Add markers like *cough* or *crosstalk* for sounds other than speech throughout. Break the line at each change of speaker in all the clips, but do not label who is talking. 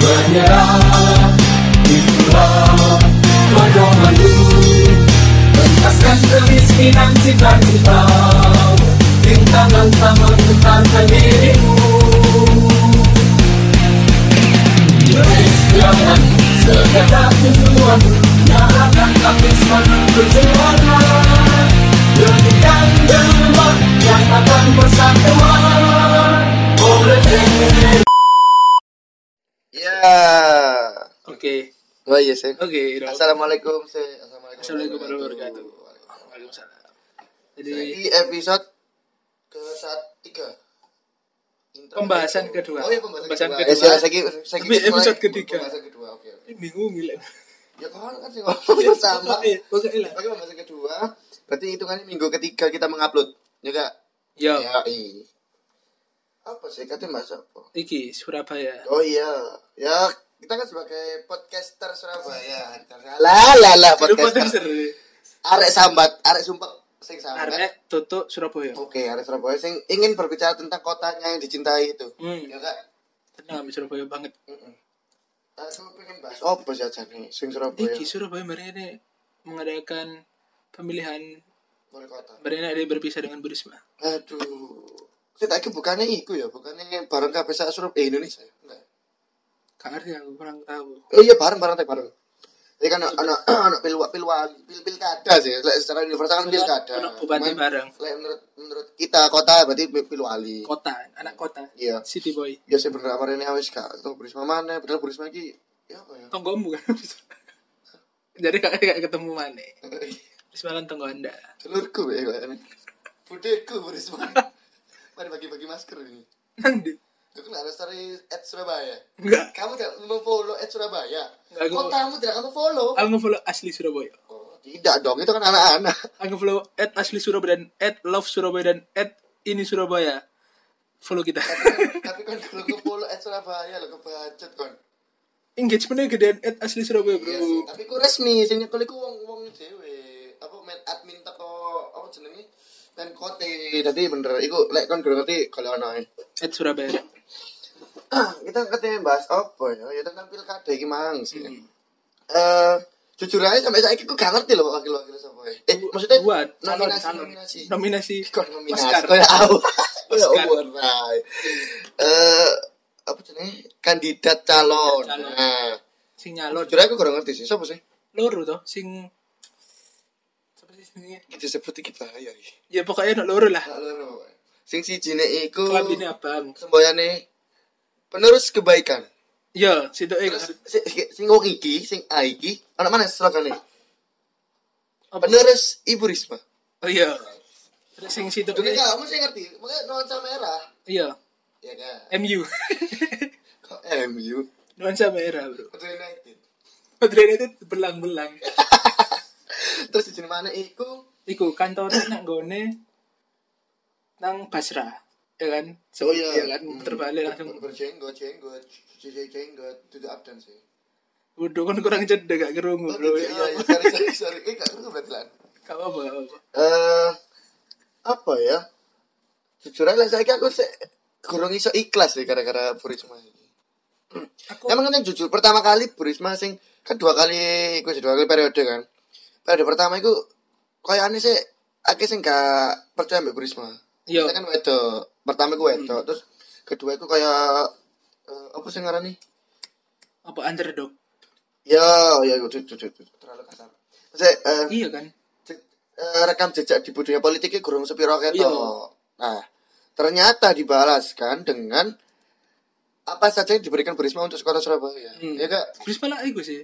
menyerah Itulah pedomanku Mentaskan kemiskinan cita-cita Rintangan tak menghentarkan dirimu Beristirahat sekadar tujuan Nyalakan lapis mana perjuangan Jadikan gelombang yang akan persatuan Oleh
Ya.
Oke,
Oh iya sih.
oke. dong.
Assalamualaikum sih.
Assalamualaikum warahmatullahi wabarakatuh. Waalaikumsalam. Jadi
Jadi episode ke saat tiga. Intro.
pembahasan kedua.
Oh iya pembahasan,
Pembahasan
kedua.
kedua.
Ya, saya saya saya
Tapi episode ketiga.
Pembahasan kedua. Oke. oke.
ini bingung gila.
Ya kan kan sih ngomong sama.
Eh, pokoknya lah.
Oke pembahasan kedua. Berarti hitungannya minggu ketiga kita mengupload. Juga.
Yo,
Ya. i. Apa sih katanya bahasa apa?
iki Surabaya.
Oh iya, ya kita kan sebagai podcaster Surabaya. Lah lah lah
Lu potong
podcaster.
seru.
Arek sambat, arek sumpek sing sambat.
Arek tutup Surabaya.
Oke, arek Surabaya sing ingin berbicara tentang kotanya yang dicintai itu.
Hmm,
Ya kak.
tenang ambil Surabaya banget.
Heeh. Aku pengen bahas Oh, apa sih aja nih sing Surabaya.
Iki Surabaya mereka mengadakan pemilihan
Wali kota.
mereka ada berpisah dengan Burisma.
Aduh. Kita iki bukannya iku ya, bukannya bareng kabeh sak Surabaya eh, Indonesia. ya? Enggak.
Kak Arti aku kurang tahu.
Oh iya bareng bareng tek bareng. Jadi kan *clears throat* anak anak pilwa pilwan pil pilkada sih. Lek secara universal kan pilkada.
Anak bupati
Cuman-
bareng.
Lah, menurut menurut kita kota berarti Pilwali.
Kota, anak kota.
Iya.
City boy.
Ya sih bener apa ini awis kak. Tuh Burisma mana? Padahal Burisma lagi. Ya apa ya?
Tonggomu kan. *laughs* Jadi kakak gak ketemu mana.
ya? *laughs*
Burisma kan tonggo anda.
Telurku ya kak ini. Budeku Burisma. Mari bagi-bagi masker ini.
Nang di.
Itu kan ada story at Surabaya.
Enggak.
Kamu tidak memfollow at Surabaya.
Enggak, gua-
Kotamu tidak kamu follow.
Aku nge-follow asli Surabaya.
Oh, tidak dong itu kan anak-anak.
Aku follow at asli Surabaya dan at love Surabaya dan at ini Surabaya. Follow kita.
Tapi kan kalau kamu follow at Surabaya lo kebacet kan.
Engagementnya gedean at asli Surabaya bro.
Iya sih. Tapi ku resmi sing nyekel iku wong-wong dhewe. Apa med admin teko apa jenenge? Dan kote. Dadi bener iku lek kon gak ngerti kalau ana.
At Surabaya.
*clears throat* Kita katanya bahas apa ya? Ya tentang pilkada iki mang sih. Eh
Hmm.
jujur aja sampai saiki ku gak ngerti lho wakil-wakil sapa. Eh maksudnya
Buat calon
nominasi
calon
nominasi.
nominasi.
Kon nominasi ya
Oscar.
koyo
*laughs*
aku. Koyo
Oscar.
umur Ray. Eh apa jenenge? Kandidat calon.
Kandidat calon.
Nah,
Sing nyalon.
jujur aku gak ngerti sih sapa sih?
Loro toh sing Apa sih jenengnya?
Kita sebut iki bahaya iki.
Ya pokoknya nak loro lah.
Gak loro. Sing siji nek iku
Kelabine abang.
semboyane penerus kebaikan.
Ya, situ eh
Terus si- si- sing wong iki, sing A iki, anak mana slogane?
apa?
Penerus Ibu Risma.
Oh iya. Terus sing situ
Jadi
eh
kamu sih ngerti, makanya nuansa merah.
iya,
Ya kan.
MU.
Kok MU?
*laughs* Nuansa merah, bro.
Betul United.
Madrid itu belang-belang.
Terus jenis mana iku?
Iku kantornya nang gone nang Basra, ya kan? So,
Oh, iya.
kan
Hmm.
terbalik langsung.
Berjenggot, jenggot, jenggot, jenggot, duduk abdan sih.
Waduh kan kurang jeda gak kerungu
Oh,
bro.
gitu.
Ya, ya.
Iya, iya, sorry, sorry, sorry. Eh, gak ngerti berarti lan.
Gak apa-apa. gak apa-apa.
eh apa ya jujur aja saya aku se kurang iso ikhlas sih gara-gara Burisma ini
Aku
emang kan yang jujur pertama kali Burisma sing kan dua kali iku sih, dua kali periode kan periode pertama iku kayak aneh sih aku sing gak percaya mbak Burisma
Iya.
Kita kan wedok pertama iku wedok terus kedua iku kayak eh, apa sih ngarani
apa underdog?
ya ya itu terlalu kasar Maksudnya, eh,
Iya kan?
je- eh, rekam jejak di budaya politiknya gurung sepiro
Iya.
keto. Nah, ternyata dibalaskan dengan apa saja yang diberikan Burisma untuk Kota Surabaya.
Hmm.
Ya kak?
Brisbane lah iku sih.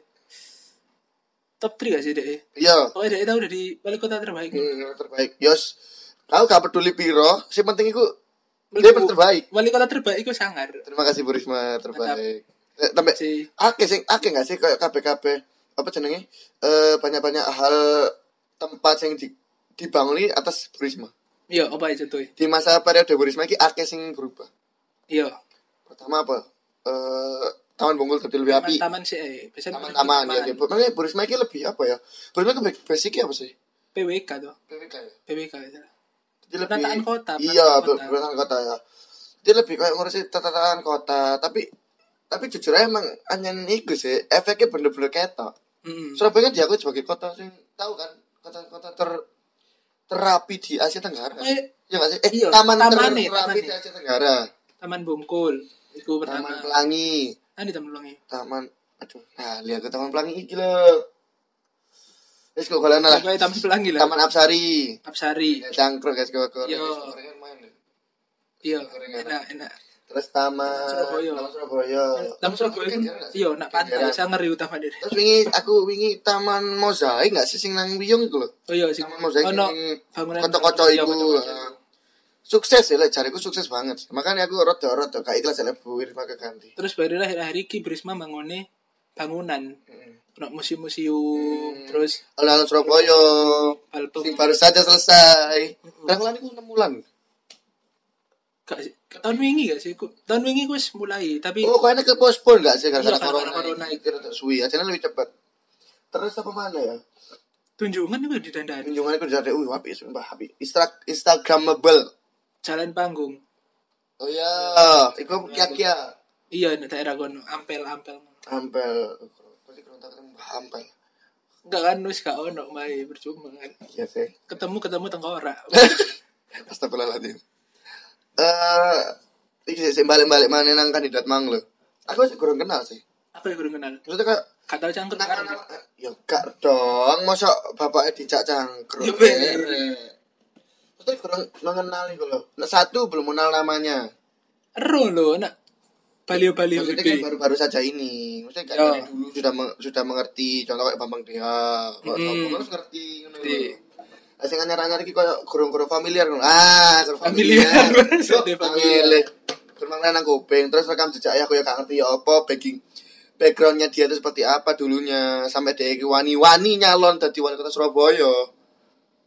Top 3 gak sih deh?
Iya.
Pokoknya deh tahu dari wali kota terbaik.
Hmm, yang terbaik. Yos, kau gak peduli piro, sing penting iku
Melebu.
dia yang terbaik.
Wali kota terbaik iku sangar.
Terima kasih Burisma terbaik. Eh, Sampai
Si
ake sing ake gak sih kayak KBKB apa jenenge? Eh banyak-banyak hal tempat yang di, dibanguni atas Burisma.
iya apa aja tuh?
Di masa periode Burisma iki ake sing berubah.
Iya.
pertama apa Eh taman bungkul tapi lebih api
Taman-taman sih eh biasanya
taman-taman ya gitu makanya Burisma ini lebih apa ya Burisma itu basicnya apa sih
PWK tuh.
PWK ya
PWK ya.
jadi lebih
Penataan kota, penataan
iya
kota.
pe- penataan kota ya dia lebih kayak ngurusin tatanan kota tapi tapi jujur aja emang anyan iku sih efeknya bener-bener ketok
Mm.
Surabaya kan diakui sebagai kota sing tahu kan kota-kota ter terapi di Asia Tenggara kan?
Eh,
ya nggak sih eh
iya,
taman,
tamane,
ter- terapi
tamane.
di Asia Tenggara
Taman Bungkul. Iku
Taman
pertama.
Pelangi
Ah, di Taman Pelangi.
Taman aduh nah lihat ke Taman Pelangi iki lho Wis kok kalian lah
Pokoknya Taman Pelangi lah.
Taman Absari
Absari.
Ya, cangkruk guys gue
Iya. Iya, enak, enak.
kan terus Taman
Surabaya.
Taman Surabaya
Taman Surabaya
Surabaya
kan,
kan jarang.
iya, nak pantai
Jarang.
sangar di utama deh.
terus wingi aku wingi Taman Mozaik nggak sih sing nang Wiyung iku lho
Oh iya, sih.
Taman Mozaik
Ono
sing
bangunan
kocok-kocok
Iya,
iku
kocok-kocok.
eh, sukses ya lah jariku sukses banget makanya aku rada rada gak ikhlas ya buwir pakai ganti
Terus baru akhir-akhir ini Prisma bangunnya bangunan. Ono museum-museum, terus
alun-alun Surabaya
album.
Hmm. sing baru saja selesai Kadang bulan itu enam bulan
Gak sih. Tahun wingi gak sih? Ku- Tahun wingi gue mulai, tapi
oh kayaknya ke postpone gak sih
Iya,
gara-gara
gara-gara
corona
corona
ini kira tak suwi aja lebih cepat terus apa mana ya
tunjungan itu di dandani.
kunjungan aku dari uh api sumpah api Insta- instagramable
Jalan panggung.
oh ya itu kia-kia
Iya, di daerah kono, ampel-ampel.
ampel pasti kalau tak ketemu Mbah ampel
Enggak kan wis gak ono mai percuma kan.
iya sih
Ketemu ketemu
*laughs*
tengkorak.
Astagfirullahaladzim. Eh, iki sih balik-balik mana nang kandidat mang lo. Aku sih kurang kenal sih.
Apa yang kurang kenal?
Maksudnya kayak
Gak tau cangkruk
kenal
kan.
kenal. Ya gak dong, masa bapaknya dijak cangkruk.
Ya, bener.
Maksudnya kurang mengenal iku lo. Nah, satu belum kenal namanya.
Ero lho, nak Balio-balio
Maksudnya kan
gede.
baru-baru saja ini. Maksudnya gak
Ya.
dari dulu sudah meng- sudah mengerti. Contoh kayak Bambang Dea. Kok
Mm-mm.
sopo harus ngerti ngono
Ngerti.
lho. Lah, Sing anyar-anyar iki koyo gurung-gurung familiar ngono. Ah, gurung
Familiar.
familiar.
*laughs* Maksudnya familiar.
Familiar. Kurang nang kuping terus rekam jejak ya aku ya gak ngerti ya apa backing backgroundnya dia itu seperti apa dulunya sampai dia iki wani-wani nyalon dadi wali kota Surabaya.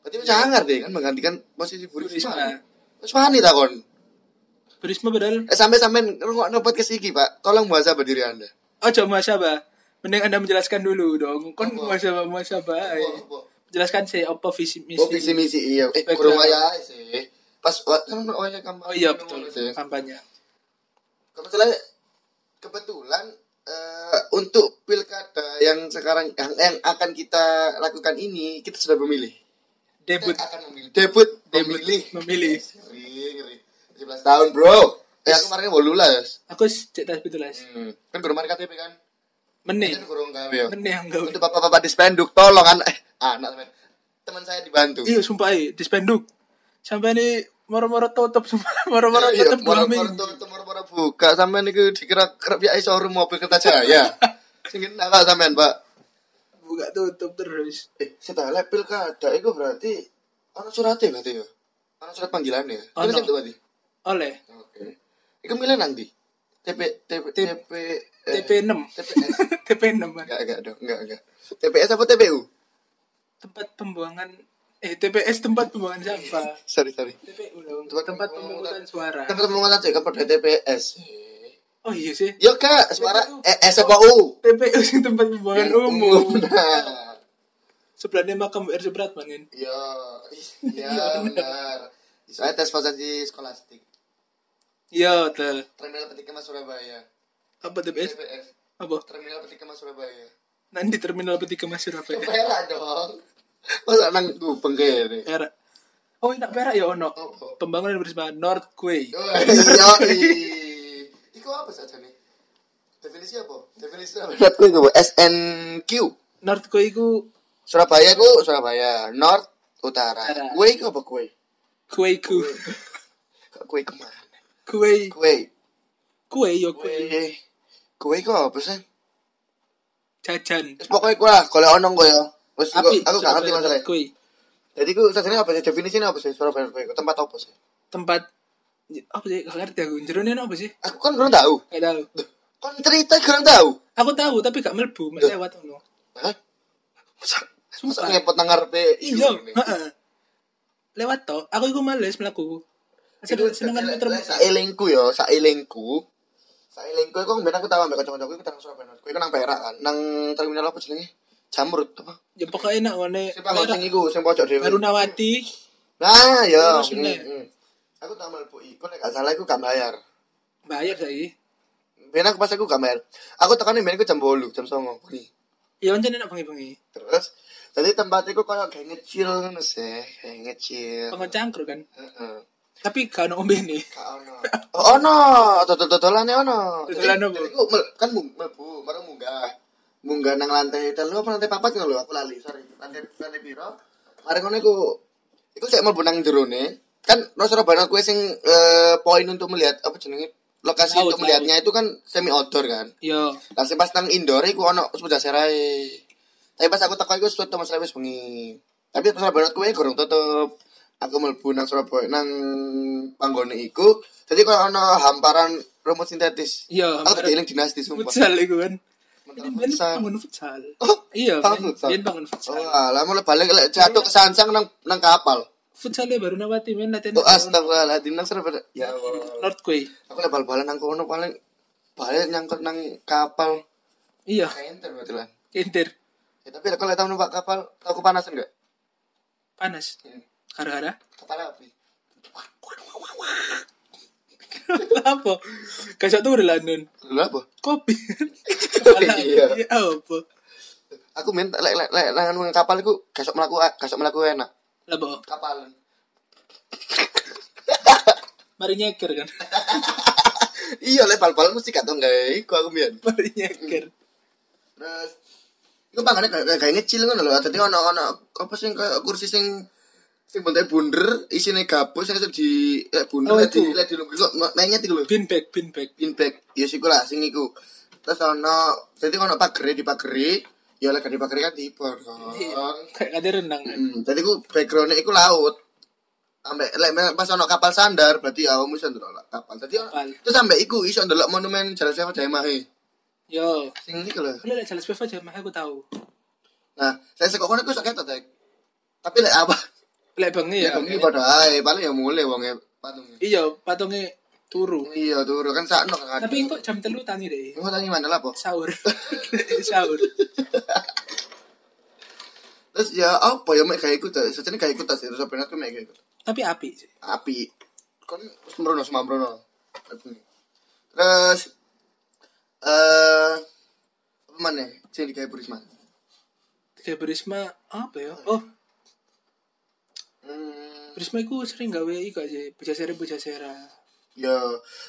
Berarti sangar deh kan menggantikan posisi Bu Risma.
Burisma.
Wis wani ta kon.
Burisma padahal
Eh, sampai-sampai ngerungokno podcast iki, Pak. Tolong muhasabah diri Anda.
ojo muasabah. Mending Anda menjelaskan dulu dong. Kon
Apa?
muasabah muasabah. ae.
Apa?
Jelaskan sih apa visi Iya, misi.
Oh visi misi iya. Eh
Background.
kurang waya ae sih. Pas wa- kan ono waya kampanye.
Oh iya betul.
sih.
Kampanye.
Kebetulan kebetulan eh, untuk pilkada yang sekarang yang, yang akan kita lakukan ini kita sudah memilih.
Debut
Kita akan memilih. Debut,
Debut.
memilih.
memilih.
Ngeri, ngeri. 17 tahun bro. Ya aku kemarin mau lulus.
Aku cek tas pitulas.
Hmm. Kan guru mari KTP kan.
Meneh.
Kan guru gawe. ya.
Meneh yang gawe.
Untuk bapak-bapak di spenduk tolong anak eh anak teman. Teman saya dibantu.
Iya sumpah ae, dispenduk. Sampai ini moro-moro tutup semua, *laughs* moro-moro
Iya,
tutup dua
moro-moro
minggu.
tutup, moro-moro buka sampean niku dikira kerep ya showroom mobil kereta jaya. Sing kena Pak, sampean, Pak.
Buka tutup terus.
Eh, setelah lepil kada iku berarti ana surate berarti ya. Ana surat panggilan ya.
Ono.
Terus itu berarti.
Oleh
Oke. Iku milih nang ndi? TP TP TP eh,
TP 6. *laughs*
TPS.
TP 6
Enggak, enggak dong, enggak, enggak. TPS apa TPU?
tempat pembuangan eh TPS tempat pembuangan sampah
Sorry, sorry.
TPU dong
Tempat
tempat,
pemungutan
pemungutan suara
Tempat penguatan sih kan pada TPS.
oh iya sih
Yo, Kak, suara eh, S apa U?
TPU sih tempat pembuangan
Iya,
umum
Nah.
*laughs* sebelahnya makam R Supratman kan
Iya, *laughs* iya benar. Soalnya tes potensi skolastik.
iya tuh
Terminal Petikema Surabaya.
apa
Ya,
TPS
TPS.
apa
Terminal Petikema Surabaya.
nanti terminal petika mas Surabaya
Perak dong. *laughs* Masa nang gubeng kene.
perak oh enak perak ya ono
Apa?
pembangunan bersama North Quay
Oh, Iya. i. Iku apa saja nih? Definisi apa? Definisi apa? Menurutku itu SNQ.
North Quay itu
Surabaya ku Surabaya, North
Utara.
Utara. Kue iku apa kue?
Quay ku
Kok Kue kemana?
Quay
Kue.
Quay yo Quay
Kue. Kue iku apa sih?
jajan
Terus pokoknya gue lah, kalau onong gue ya. Terus aku,
api
aku gak ngerti
Surabaya
masalahnya.
North Quay
Jadi gue sebenarnya apa sih? Definisinya apa sih? Surabaya North Quay? Tempat apa sih?
tempat apa sih gak ngerti aku jerone apa sih
Aku kan kurang tahu.
gak tahu
Kan cerita kurang tahu.
Aku tahu tapi gak melbu, mek lewat ngono.
Hah? Masa, masa
Sumpah.
ngepot nang ngarepe
Iya,
ini?
heeh. Lewat to, aku iku males mlaku.
Itu
Seneng- Senengan
le-
muter
le- Saelingku ya, saelingku. Saelingku aku kan ben aku tahu ambek kanca-kancaku iku nang Surabaya North Quay iku nang Perak kan. Nang terminal apa jenenge? Jamrut apa?
Ya pokoknya enak ngene.
Sing panggon sing iku, sing pojok dhewe.
Barunawati,
Nah, ya.
Terus meneh.
Aku tahu mlebu iku nek gak salah iku gak bayar.
bayar saiki.
ben aku pas aku gambar. Aku tekan ben aku jam 8, jam 9 bengi.
Iya pancen enak bengi-bengi.
Terus jadi tempat iku koyo kayak ngecil ngono sih, kayak ngecil.
Pengen cangkruk kan.
Heeh.
Tapi gak ono ombene.
Gak ono. Oh, ono, dodol-dodolane ono. Jadi-
Dodolan apa?
jadi aku mel- kan mung- mlebu, bareng munggah. Munggah nang lantai telu apa lantai papat ngono lho, aku lali, sorry. Lantai lantai piro? Mari ngono iku iku cek mlebu nang jerone. Kan no Surabaya kuwi sing eh, poin untuk melihat apa jenenge lokasi
Laut,
untuk melihatnya itu kan semi outdoor kan.
Yo,
Lah sing pas nang indoor iku ono sepeda serae. Tapi pas aku teko iku tutup Mas Lewis bengi. Tapi Surabaya kuwi gorong tutup. Aku mlebu nang Surabaya nang panggone iku. Jadi kalau ono hamparan rumput sintetis.
yo.
Aku tadi eling dinasti
ya,
sumpah.
futsal iku kan.
Mental
Ini ben
futsal.
bangun futsal.
Oh,
Iya,
bangun
ben
futsal.
ben bangun
Oh,
futsal.
alah mau balik lek jatuh ke sansang nang nang kapal.
Futsalnya ya baru nawati men latihan.
Oh, astagfirullahaladzim nang Surabaya. Ya Allah.
North Quay.
Aku lek bal-balan nang kono paling balik nyangkut nang kapal.
Iya,
Kenter berarti lah.
Inter.
Ya, tapi lek kalau tau numpak kapal, tau kepanasan enggak?
Panas.
Hmm.
Gara-gara *laughs*
Kepala api.
apa? Kasih tuh udah London.
Lho apa? *laughs*
Kopi.
Iya.
Iya, apa?
aku minta lek lek lek nang anu nang kapal iku gasok mlaku gasok mlaku enak
Lah boh.
kapal
Mari nyeker kan. *laughs*
iya lek bal-balan mesti gak tau gawe iku aku mbiyen
Mari nyeker.
terus iku pangane kayak kayak ngecil ngono lho dadi ono ono apa sing kayak kursi sing sing bentuknya bunder isine gabus sing di lek
Oh,
bunder lek di
itu.
lek di lumbu kok mainnya iku lho
Bin bag, bin bag.
pin back ya siku lah sing iku terus ono dadi ono pagere di pagere ya lek di pagere kan dibor kan
Kayak kade renang. kan.
Mm, jadi ku backgroundnya iku laut. Ambek lek me- pas ono kapal sandar berarti awakmu iso ndelok lah kapal. Dadi ono-
Kapal.
terus ambek iku iso ndelok monumen Jalan Sewa Jaimahe.
Yo.
Sing iku lho.
Kalau lihat Charles Peva jamah aku tahu.
Nah, saya sekok kono iku iso ketok Dek. Tapi lek
*laughs*
apa?
Lek bengi
Ya
ya.
bengi padha ae, paling ya mulai wonge patungnya.
Iya, patungnya turu.
Iya, turu kan sakno kan.
Tapi kok jam telu tangi deh.
Iku tangi mandala apa?
Sahur. *laughs* Sahur.
Terus ya apa ya mek gak ikut, Dek. sejane gak ikut tas terus ben aku mek gak ikut.
Tapi api sih.
api Kan kon sembrono semambrono terus eh apa mana ya? sing digawe Burisma
Kayak Berisma apa ya? Oh,
hmm,
Berisma itu sering gawe iku aja. Bujasera, bujasera.
yo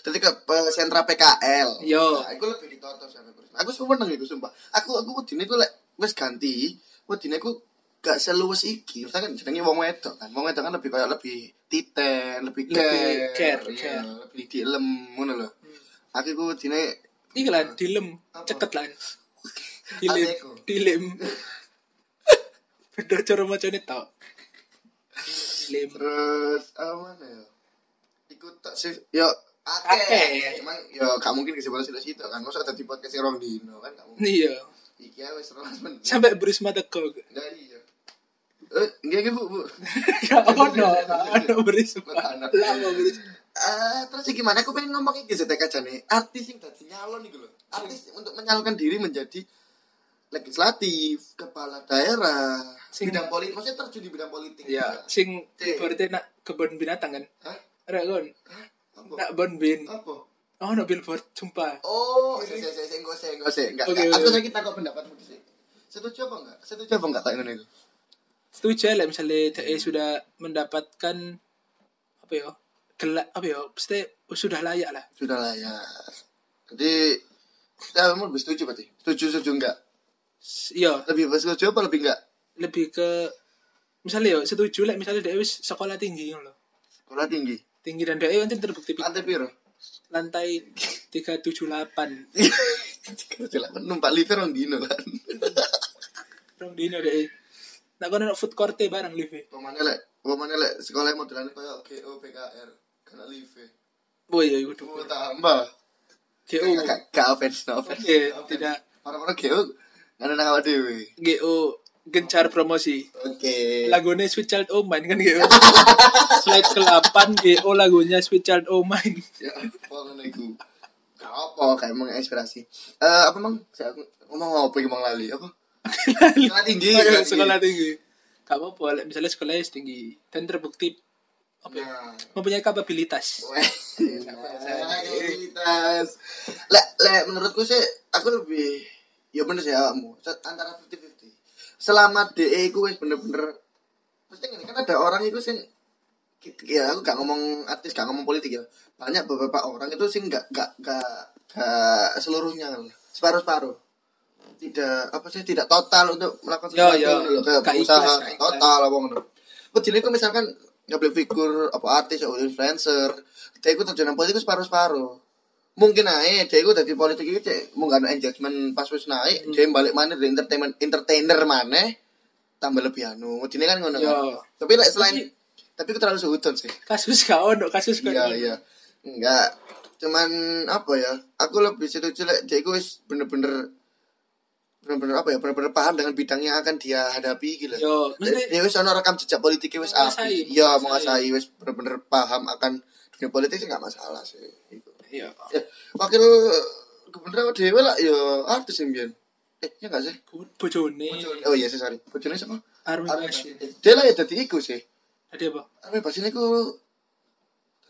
tadi ke eh, sentra PKL
Yo.
nah, aku lebih ditoto sama Burisma aku sumpah nang iku sumpah aku aku wedine ku lek wis ganti wedine ku gak seluwes iki Maksudnya kan jenenge wong wedok kan wong wedok kan lebih kayak lebih titen lebih care
Lebih care,
Iya,
care.
lebih dilem ngono lho
Hmm.
aku ku wedine
Iki lah, dilem. Ceket
*laughs*
lah. Dilem.
Apa iku?
Dilem. *laughs* Beda cara macamnya tau. Dilem.
Terus apa mana ya? Ikut tak sih. Yo
Akeh. iya.
akeh. Cuman yo gak mungkin kesimpulan situ situ kan. Masa ada di podcast yang orang dino kan gak mungkin.
Iya.
Iki ae wis orang menit.
Sampai Berisma teko.
Nah iya. Eh, nggih nggih, Bu, Bu.
*laughs* Ya ono, ono Berisma.
Ono.
Lama Berisma.
Eh, terus iki mana aku pengen ngomong iki JTK jane. Artis yang dadi nyalon iku lho. Artis untuk menyalonkan diri menjadi legislatif, kepala daerah,
Sing-
bidang politik, maksudnya terjun di bidang politik.
Iya, sing
Cek.
berarti nak kebun binatang kan?
Hah?
Ora kon.
Apa?
Nak bon bin.
Apa?
Oh, no billboard jumpa.
Oh, saya saya saya enggak saya enggak saya enggak.
Oke,
enggak. Aku
oke.
saya kita kok pendapatmu di sini. Setuju apa enggak? Setuju apa enggak kayak ngono itu?
Setuju lah misalnya DE sudah mendapatkan apa ya? Gelak apa ya? Pasti sudah layak lah.
Sudah lah ya. Jadi saya mau lebih setuju berarti. Setuju setuju enggak?
S- Iya,
Lebih setuju apa lebih enggak?
lebih ke misalnya ya setuju lah misalnya DE wis sekolah tinggi ngono loh.
Sekolah tinggi.
Tinggi dan DE kan terbukti pi-
Lantai piro?
*laughs* lantai 378.
Jelas numpak lift orang dino kan.
Rong dino DE. Nak kono nak food court barang live.
Pemane lek, pemane lek sekolah yang modelane koyo GO PKR kena lift. ya.
Oh iya, iya, kudu.
Mau tambah.
GO. *laughs*
Gak gak offense, no offense.
Oke, tidak
Orang-orang GO ngene nang awak dhewe.
GO gencar promosi.
Oke.
lagunya Sweet Child O' Mine kan gitu slide ke-8 GO lagunya Sweet Child O' Mine
ya apa ngono iku gak apa kayak emang inspirasi eh apa mang saya aku- ngomong apa iki mang lali apa sekolah
Ayo,
tinggi
Iya,
sekolah tinggi.
sekolah tinggi gak apa-apa like, misalnya sekolahnya tinggi dan terbukti apa ya,
Nah.
mempunyai kapabilitas
Kapabilitas. Lek lek menurutku sih aku lebih ya bener sih awakmu. Se- Antara 50-50. Selama DE iku wis bener-bener mesti ngene kan ada orang itu sing ya aku gak ngomong artis gak ngomong politik ya banyak beberapa orang itu sing gak gak gak, gak seluruhnya kan separuh separuh tidak apa sih tidak total untuk melakukan
Yo, yo.
gitu loh, kayak
Gak
usaha
ikhlas, gak ikhlas.
total apa ngono Jadi kok misalkan public figur apa artis atau influencer, dia itu terjun nang politik itu separuh-separuh. Mungkin naik, dia itu dari politik itu cek mau nggak engagement pas wis
Hmm.
naik, dia balik mana dari entertainment entertainer mana tambah lebih anu. Jadi kan ngono. kan.
Yo.
Tapi like, selain
Iya. Tapi-
tapi itu terlalu seudon sih.
kasus gak ono kasus gak
Iya
ono.
iya. Enggak. Cuman apa ya? Aku lebih setuju lek dia itu wis bener-bener bener-bener apa ya? Bener-bener paham dengan bidang yang akan dia hadapi gitu.
yo mesti
Ya wis ana rekam jejak politiknya wis
Iya. Menguasai,
apik. Iya,
menguasai.
menguasai wis bener-bener paham akan dunia politik sih enggak masalah sih. Itu.
yo
Ya, wakil eh, gubernur apa dewe lah ya artis yang biyen. Eh, ya enggak sih?
bojone
Oh iya sih, sorry. Bojone siapa?
Arwin
Armin
Bashir
Bashir. Dia lah ya dadi iku sih.
tadi apa
Armin Bashir iku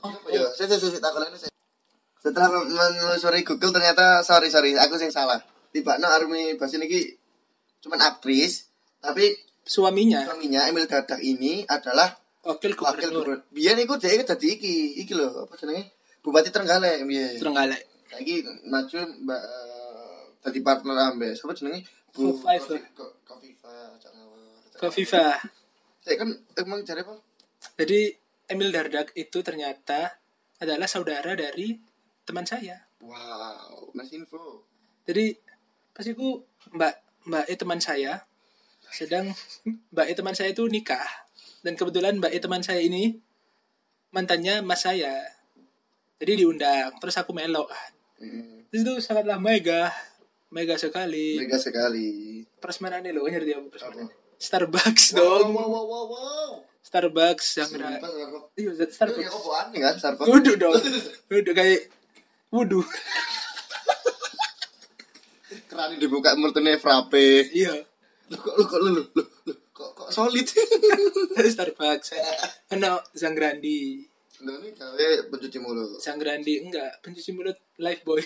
oh,
ya, saya saya saya tak kelana, saya. Setelah men- menelusuri Google ternyata sorry sorry, aku sing salah. Tiba no Armin Bashir iki cuman aktris, tapi
Eh. suaminya
suaminya Emil Dadak ini adalah
wakil
wakil
gubernur
gubernur. Biyen iku dhek iku dadi iki, iki lho, apa jenenge? Bupati Trenggalek biyen.
Trenggalek
Saiki maju Mbak tadi partner ambe sapa jenenge?
Kofifa.
Ko- Kofifa Cak Ngawur.
Kofifa
Cek kan eh, emang jare apa?
jadi Emil Dardak itu ternyata adalah saudara dari teman saya
Wow, nice info.
jadi pas itu mbak mbak E teman saya sedang *laughs* mbak E teman saya itu nikah dan kebetulan mbak E teman saya ini mantannya mas saya jadi diundang terus aku melo kan.
Mm,
terus itu sangatlah mega mega sekali
Mega sekali.
prasmanan loh nyari dia prasmanan
Apa?
Starbucks
Wow,
dong
wow, wow, wow, wow.
Starbucks yang kena-
Sumpah, Starbucks.
iya
Itu
Starbucks
ya kobokan ya kan Starbucks.
Wudhu dong. Wudhu kayak wudhu.
Kerani dibuka mulutnya frappe.
*laughs* Iya.
Lu kok lu kok lu lu lu lu, kok kok solid. *laughs*
Dari Starbucks. Ano Zangrandi.
Lu ini gawe pencuci mulut.
Zangrandi enggak pencuci mulut Life Boy.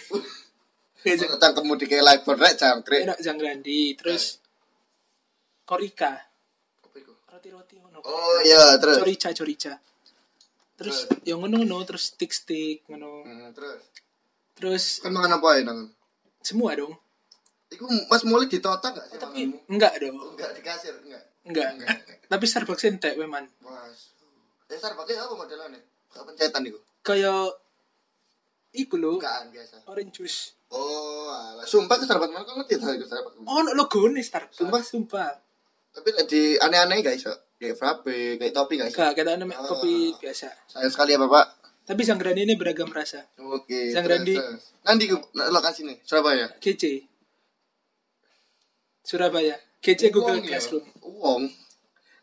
Kayak Zang-
tentang kemudi kayak live rek
*laughs*
cangkrik
Enak Zangrandi. Terus Korika. Roti-roti ngono.
oh iya terus
Corica corica. Terus yang ngono ngono terus stick stick ngono.
Hmm, terus
Terus
kan makan apa ya nang
semua dong.
Iku Mas Muli ditotak gak sih?
Tapi
makanmu?
enggak dong.
enggak di kasir enggak.
Enggak.
Enggak.
Tapi Starbucks entek weman.
Mas. Eh Starbucks apa modelane? Gak pencetan iku.
Kayak iku lho
Bukaan biasa.
orange juice.
Oh, alah. Sumpah ke Starbucks mana kok ngerti ta iku Starbucks.
Oh, no logo nih Starbucks.
Sumpah?
sumpah.
Tapi lek di aneh-aneh gak iso. Kayak frappe, kayak topi gak iso.
Enggak, kita namanya
Ah.
kopi biasa.
Sayang sekali ya, Bapak.
Tapi Sanggrani ini beragam rasa.
Oke.
Sang
terus,
Randy.
terus. Nanti ke lokasi nih, Surabaya.
Kece. Surabaya. Kece Google
Wong ya.
Classroom. *laughs*
Wong.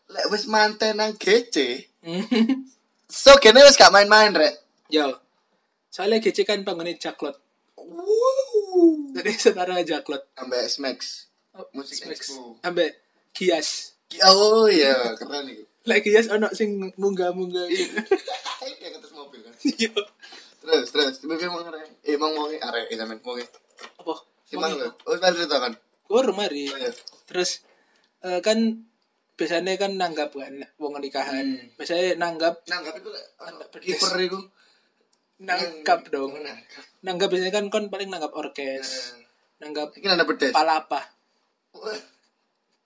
Lek wis manten nang gece,
Hmm.
so kene wis gak main-main rek.
Yo. Soalnya kece kan panggungnya jaklot.
Wuh.
Jadi *laughs* setara jaklot.
Ambe Smax.
Oh,
Musik
Smax.
Expo.
Ambek kias.
Oh iya, keren *laughs* iku.
Lek kias ono sing munggah-munggah.
Iya.
gitu.
Ayo kayak atas mobil kan.
*laughs* Yo.
Terus, terus. Mungkin mau ngerek. Eh, mau mau arek eh sampean mau.
Apa?
Simang lho. Oh, sampean cerita kan.
Gue rumah ri.
Oh, iya.
Terus eh, kan biasanya kan nanggap kan wong nikahan.
Hmm.
Biasanya nanggap
Nanggap iku lek ono
Nangkap pedes.
kiper iku. Hmm.
nanggap dong.
Nangkap.
Nanggap biasanya kan kon paling nanggap
Iya.
orkes, nanggap
Iki nanda Eh. pedes.
palapa.
Wah,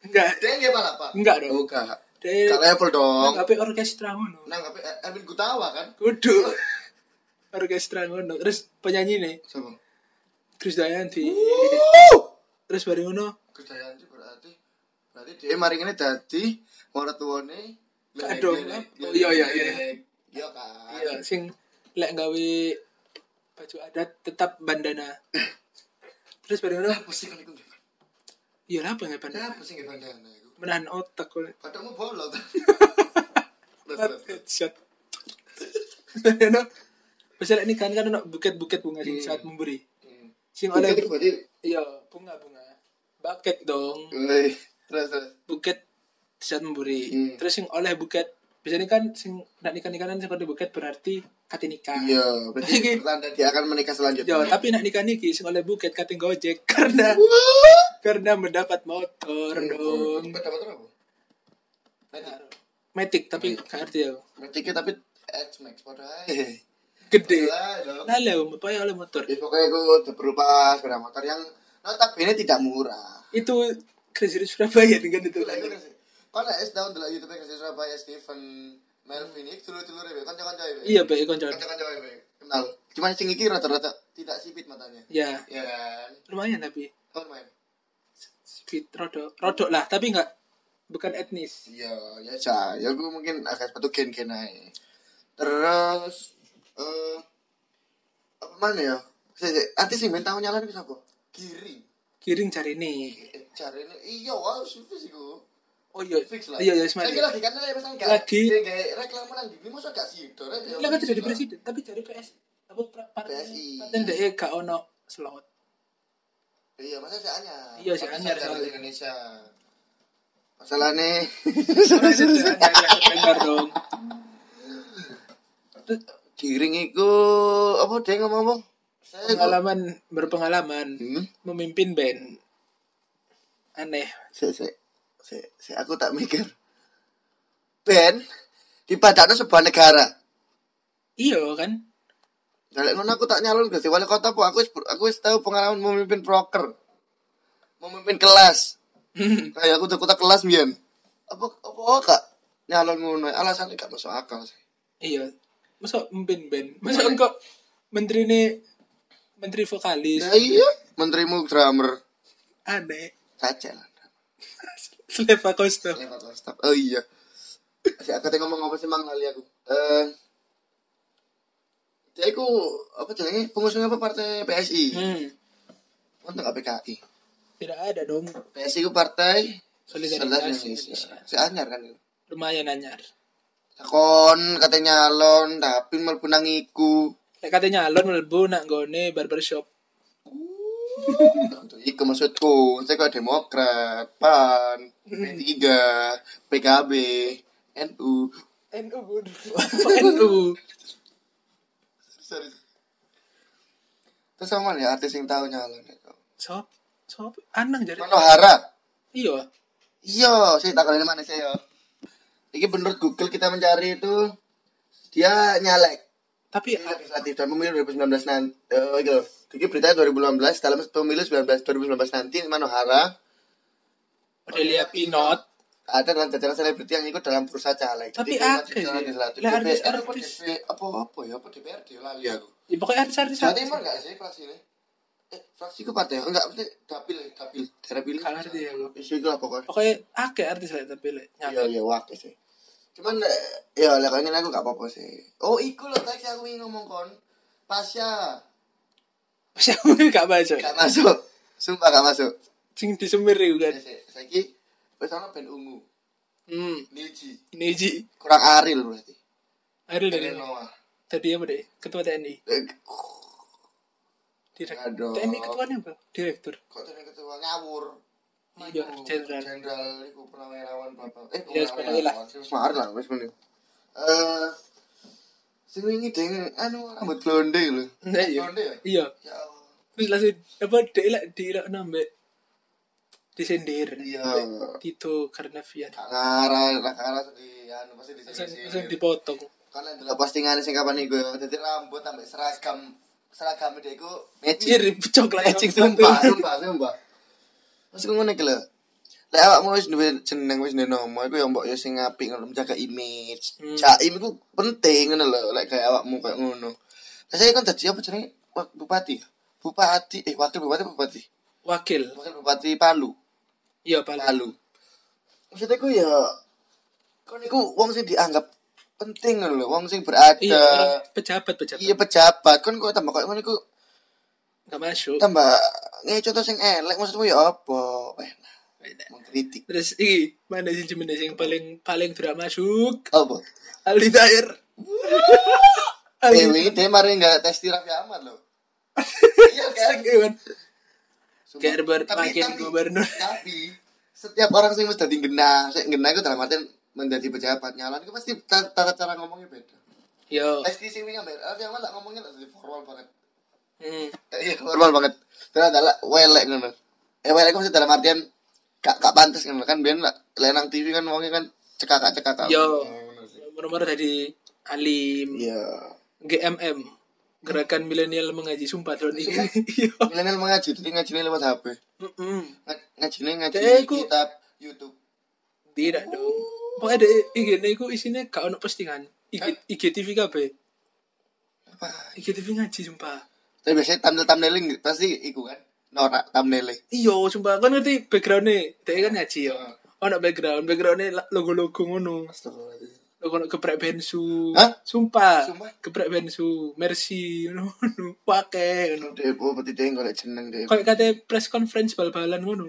Enggak,
Dia nggak apa-apa.
enggak dong.
Oh, gak.
Dia
Gak level dong.
nanggap orkestra ngono.
Nangkap eh, Erwin Gutawa kan?
Kudu. Orkestra ngono. Terus penyanyi nih,
Siapa?
Krisdayanti. Terus bareng ngono,
Kedayanti berarti berarti dia mari ini dadi orang tuane.
Aduh, oh, iya, iya, iya.
Iya kan.
iya sing lek gawe baju adat tetap bandana. Terus bareng ngono,
Pusing kan iku. Nggak
iya lah apa nggak bandana?
pusing ya bandana iku.
Menahan otak oleh *laughs*
Padamu bolong. Terus, terus, terus.
headshot. Bareng ngono. Misalnya ini kan kan ono buket-buket bunga sing
Iya.
saat memberi.
Hmm.
Sing
Oke,
oleh
itu berarti.
Iya, bunga-bunga. Buket dong.
Woi, terus terus.
Buket saat memberi.
Hmm.
Terus yang oleh buket biasanya kan sing nak nikah nikahan seperti buket berarti kate nikah
Iya, berarti pertanda dia akan menikah selanjutnya.
Yo, tapi nak nikah niki sing oleh buket kate gojek *laughs* karena karena mendapat motor
Iya,
dong
Dapat apa? Nanti.
metik tapi
Iya.
gak ngerti ya
Metiknya tapi X Max padha
Iya.
ae.
gede
Lah, dong.
lalu um, apa oleh motor
Ya pokoknya itu berupa sepeda motor yang notabene tidak murah. gitu
itu Crazy Rich Surabaya *laughs* dengan itu
Iya. Kalau es tahun dulu YouTube kasih Surabaya Steven Melvin ini dulu dulu ya, kan jangan jauh
iya baik konco
kan jangan kenal. Cuman sing iki rata-rata tidak sipit matanya.
ya
Iya kan,
lumayan tapi
kan main.
speed rodok rodok lah tapi nggak bukan etnis
Iya, ya cah. Ya gue mungkin agak sepatu gen gen aja. Terus eh apa mana ya? Sik, sik. Artis sing main tahun nyala iki sapa? Giring.
kiring cari ini
Cari ini iya wow sipis iku.
oh iya
fix lah.
iya iya Ismail.
Saya kira lagi kan lah pesan gak.
Lagi.
Dia gak reklama lagi. Ini masa gak sih? Dora, ya,
Lah kan
fix
jadi
lah.
presiden, tapi jadi PS apa pra- partai
PSI.
partai DE gak ono slot.
Iya, masa si anyar.
Iya, si
Masa
anyar
dari
soalnya.
Indonesia. Masalahnya
Benar dong.
giring iku apa dia ngomong apa? Saya iku-
Pengalaman berpengalaman
Hmm?
memimpin band. Aneh.
Sik, sik. Sik, sik, aku tak mikir. Ben dipadakno sebuah negara.
Iyo kan?
Dalek ngono aku tak nyalon Gusti Wali Kota po aku wis aku wis tahu pengalaman memimpin proker. Memimpin kelas.
Hmm.
kayak aku takut kelas bian apa apa oh, kak nyalon ngono alasannya gak masuk akal sih
Iya. Masa memimpin band? Masa engkau menteri ini menteri vokalis?
ya iya menterimu drummer
Aneh.
caca lah
Sleva Costa.
Lewat WhatsApp. oh iya si aku tadi ngomong apa sih mang lali aku eh dia aku apa jenenge pengusungnya apa partai PSI
Hmm.
untuk gak PKI
Tidak ada dong.
PSI ku partai
Solidaritas
Indonesia
Indonesia.
si anyar kan itu
Lumayan anyar.
kon katanya nyalon tapi malah punang iku
Lek katanya nyalon mlebu nak nggone barbershop.
Iku maksudku, saya kok Demokrat, PAN, P3, PKB, NU.
NU bodoh. *laughs* NU.
Sorry. Terus sama ya artis yang tahu nyalon itu.
Sop, sop, anang jari.
Manohara.
Iya.
Iya, saya tak kenal mana saya. Ini menurut Google kita mencari itu dia nyalek
Tapi
Ini legislatif dan pemilu 2019 nanti. Eh, gitu. Jadi beritanya 2018 dalam pemilu 19 2019 nanti Manohara
Odelia
Iya.
Pinot.
ada dalam jajaran selebriti yang ikut dalam bursa caleg.
Tapi
Jadi,
akeh, ya.
jajaran legislatif.
Lah, artis-
DPR,
artis.
DP, apa apa ya apa DPR dia lali aku.
Ya, pokoknya harus harus
Jawa Timur enggak sih fraksi ini? Eh, fraksi ku partai enggak mesti dapil ya, dapil daerah pilih.
Nggak ngerti ya, gua.
Isu itu lah pokoknya.
Pokoknya akeh artis lah tapi lek *laughs*
Iya
nyalon.
iya waktu sih. Cuman eh, ya lah kayaknya aku enggak apa-apa sih. Oh, iku loh tadi aku ingin ngomong kon. Pasya
Masih aku gak baca.
enggak masuk. Sumpah enggak masuk. Eh,
Sing disemir iku kan.
Iya. Saiki wis ana band ungu.
Hmm,
Niji.
Neji.
Kurang Aril berarti.
Aril dari
Dari Noah.
tadi apa deh? Ketua TNI.
Eh, Nggak
Direktur.
dong.
TNI ketuanya apa? Direktur.
kok tadi ketua ngawur
Iya,
Iku,
jenderal.
jenderal iku purnawirawan bapak eh
Iya, sepokoknya lah.
semar lah wis muni eh sing wingi ding anu rambut blonde lho
Nah, iya.
blonde ya
Iya.
ya Allah.
Terus langsung apa deh lah di lah nambah disendir.
iya
Tito Karnavian.
Kak Ngara, Kak Ngara sedih, anu pasti di
Langsung
sini.
langsung dipotong.
Karena dulu postingan sing kapan iku, ya. jadi rambut tambah seragam seragam dia iku matching.
Mirip coklat.
Ecing sumpah, sumpah, sumpah. Mas ku ngono iki lho. Lek awakmu wis duwe jeneng wis duwe nama iku ya mbok ya sing apik ngono menjaga image.
Hmm.
Jaim iku penting ngono lho lek kayak awakmu kayak ngono. Lah saya kan dadi apa jenenge Wak- bupati. ya? Bupati eh wakil bupati apa bupati.
Wakil.
Wakil bupati Palu.
Iya, Pak.
Palu. Maksudnya ku ya kon iku wong sing dianggap penting ngono lho, wong sing berada.
Iya, orang pejabat pejabat.
Iya pejabat, kon kok tambah koyo ngono iku
Gak masuk.
tambah ngeco contoh sing elek maksudmu ya apa Eh, mengkritik
Terus iki mana sih jenis yang paling paling tidak masuk?
apa
Aldi Dair.
eh
Aldi
wingi dia mari nggak tes tiraf ya aman
*laughs*
loh iya
Sang
kan
Iwan.
Sumpah.
Kayak Robert makin
tapi,
gubernur.
tapi setiap orang sih mesti dadi genah saya genah itu dalam artian menjadi pejabat nyalon itu pasti ta- tata cara ngomongnya beda.
Yo.
Lesti sing wingi ambek Elvi yang malah ngomongnya lah jadi formal banget.
Hmm.
Iya, formal banget. Terus adalah welek ngono. Eh welek itu maksudnya dalam artian kak kak pantas ngono kan ben lenang TV kan ngomongnya kan cekakak-cekakak.
Yo.
Ngono sih.
Nomor-nomor tadi alim
Iya.
GMM gerakan milenial mengaji sumpah tahun ini. *laughs* Yo.
Milenial mengaji, jadi ngajinya lewat HP.
Mm-mm.
Nga- Ngajinya ngaji
Dek, ku-
kitab YouTube.
Tidak dong. Pokoknya ada IG ini ku isinya gak ono postingan. IG, IGTV KB. IGTV ngaji sumpah.
Tapi biasanya thumbnail-thumbnailing pasti iku kan. Norak thumbnailnya.
Iyo sumpah kan ngerti backgroundnya. Dia kan ngaji yo. Ono background, backgroundnya la- logo-logo ngono.
Astagfirullahaladzim.
Logo ono geprek bensu.
Hah?
Sumpah.
Sumpah?
Geprek bensu. Mercy ngono *laughs* ngono. Pakai ngono.
Depo, berarti dia golek jeneng Depo.
Kayak kata press conference bal-balan ngono.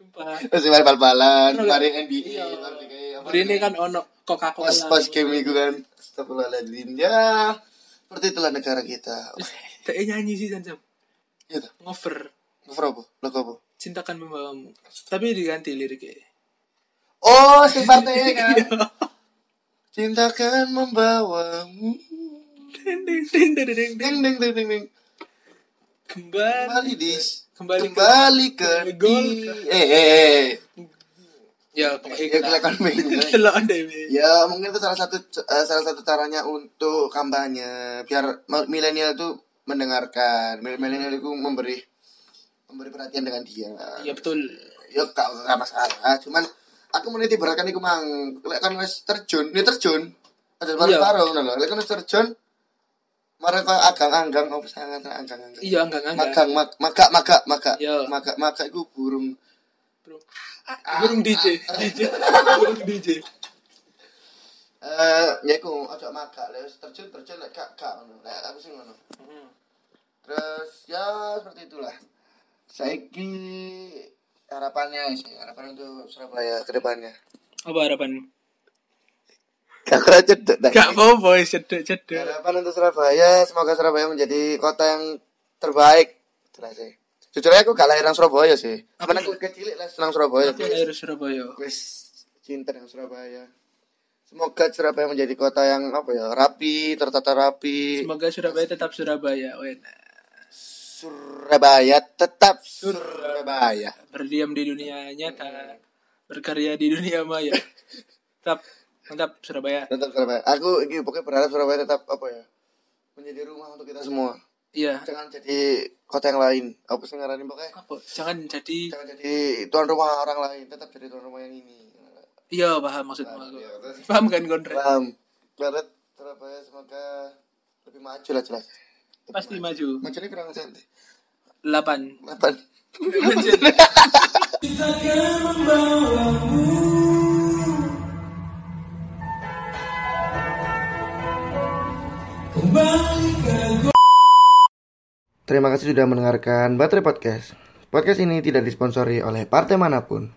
Sumpah.
Terus mari bal-balan,
Terus-
mari NBA,
Iya.
mari kayak apa
Hari ini
namanya,
kan ono Coca-Cola.
pos-pos game itu kan. Astagfirullahaladzim. Ya, seperti itulah negara kita.
Dia nyanyi sih Jansam.
Iya tuh.
Ngover.
Cover apa? Lagu apa?
cintakan membawamu tapi diganti liriknya
Oh, sing *laughs* partainya kan. Cintakan membawamu.
ding ding ding ding ding ding.
Ding ding ding ding ding.
kembali
Kembali dis.
Kembali ke-
Kembali ke
ke gol.
di. Eh eh eh.
ya
Ya
pokoknya
kelihatan bingung.
telan dewi
Ya mungkin itu salah satu eh, salah satu caranya untuk kampanye biar ma- milenial itu mendengarkan Mil- milenial itu memberi memberi perhatian dengan dia.
ya betul
Ya gak, gak masalah, cuman aku meniti berakan iku mang. Lek kan wis terjun, ini terjun. Ada
Iya.
baru baru ngono lho. Lek kan wis terjun mare kok agang-anggang opo sangat agang-anggang.
iya enggak enggak
Magang mag- maga maga maga.
Iya.
Maga maga iku burung Ah,
burung DJ DJ *laughs* burung DJ
Eh, ya aku ojo maga lek wis terjun terjun lek gak gak ngono. Lek aku sih ngono. Terus ya seperti itulah. Saiki harapannya sih, harapan untuk Surabaya ke depannya.
apa harapan
Gak kurang cedek
*laughs*
dah.
gak mau boy cedek cedek
Harapan untuk Surabaya, semoga Surabaya menjadi kota yang terbaik. Itulah sih. Jujur aja aku gak lahiran Surabaya sih.
Apa
Cuman
itu?
aku kecil lah senang Surabaya.
aku lahir Surabaya
Wes cinta dengan Surabaya. Semoga Surabaya menjadi kota yang apa ya rapi, tertata rapi.
semoga Surabaya tetap Surabaya Wena.
Surabaya tetap Surabaya.
berdiam di dunia nyata berkarya di dunia maya tetap mantap Surabaya
Tetap Surabaya. Aku ini pokoknya berharap Surabaya tetap apa ya menjadi rumah untuk kita semua.
iya
Jangan jadi kota yang lain. Apa sih ngaranin pokoknya?
apa jangan jadi
Jangan jadi tuan rumah orang lain, tetap jadi tuan rumah yang ini.
Iya paham maksudmu
Paham,
aku.
iya, terus.
Paham kan Gondre?
Paham. Barat Surabaya semoga lebih maju lah jelas.
Pasti maju.
Maju ini kurang cantik.
8.
Delapan. Terima kasih sudah mendengarkan Baterai Podcast. Podcast ini tidak disponsori oleh partai manapun.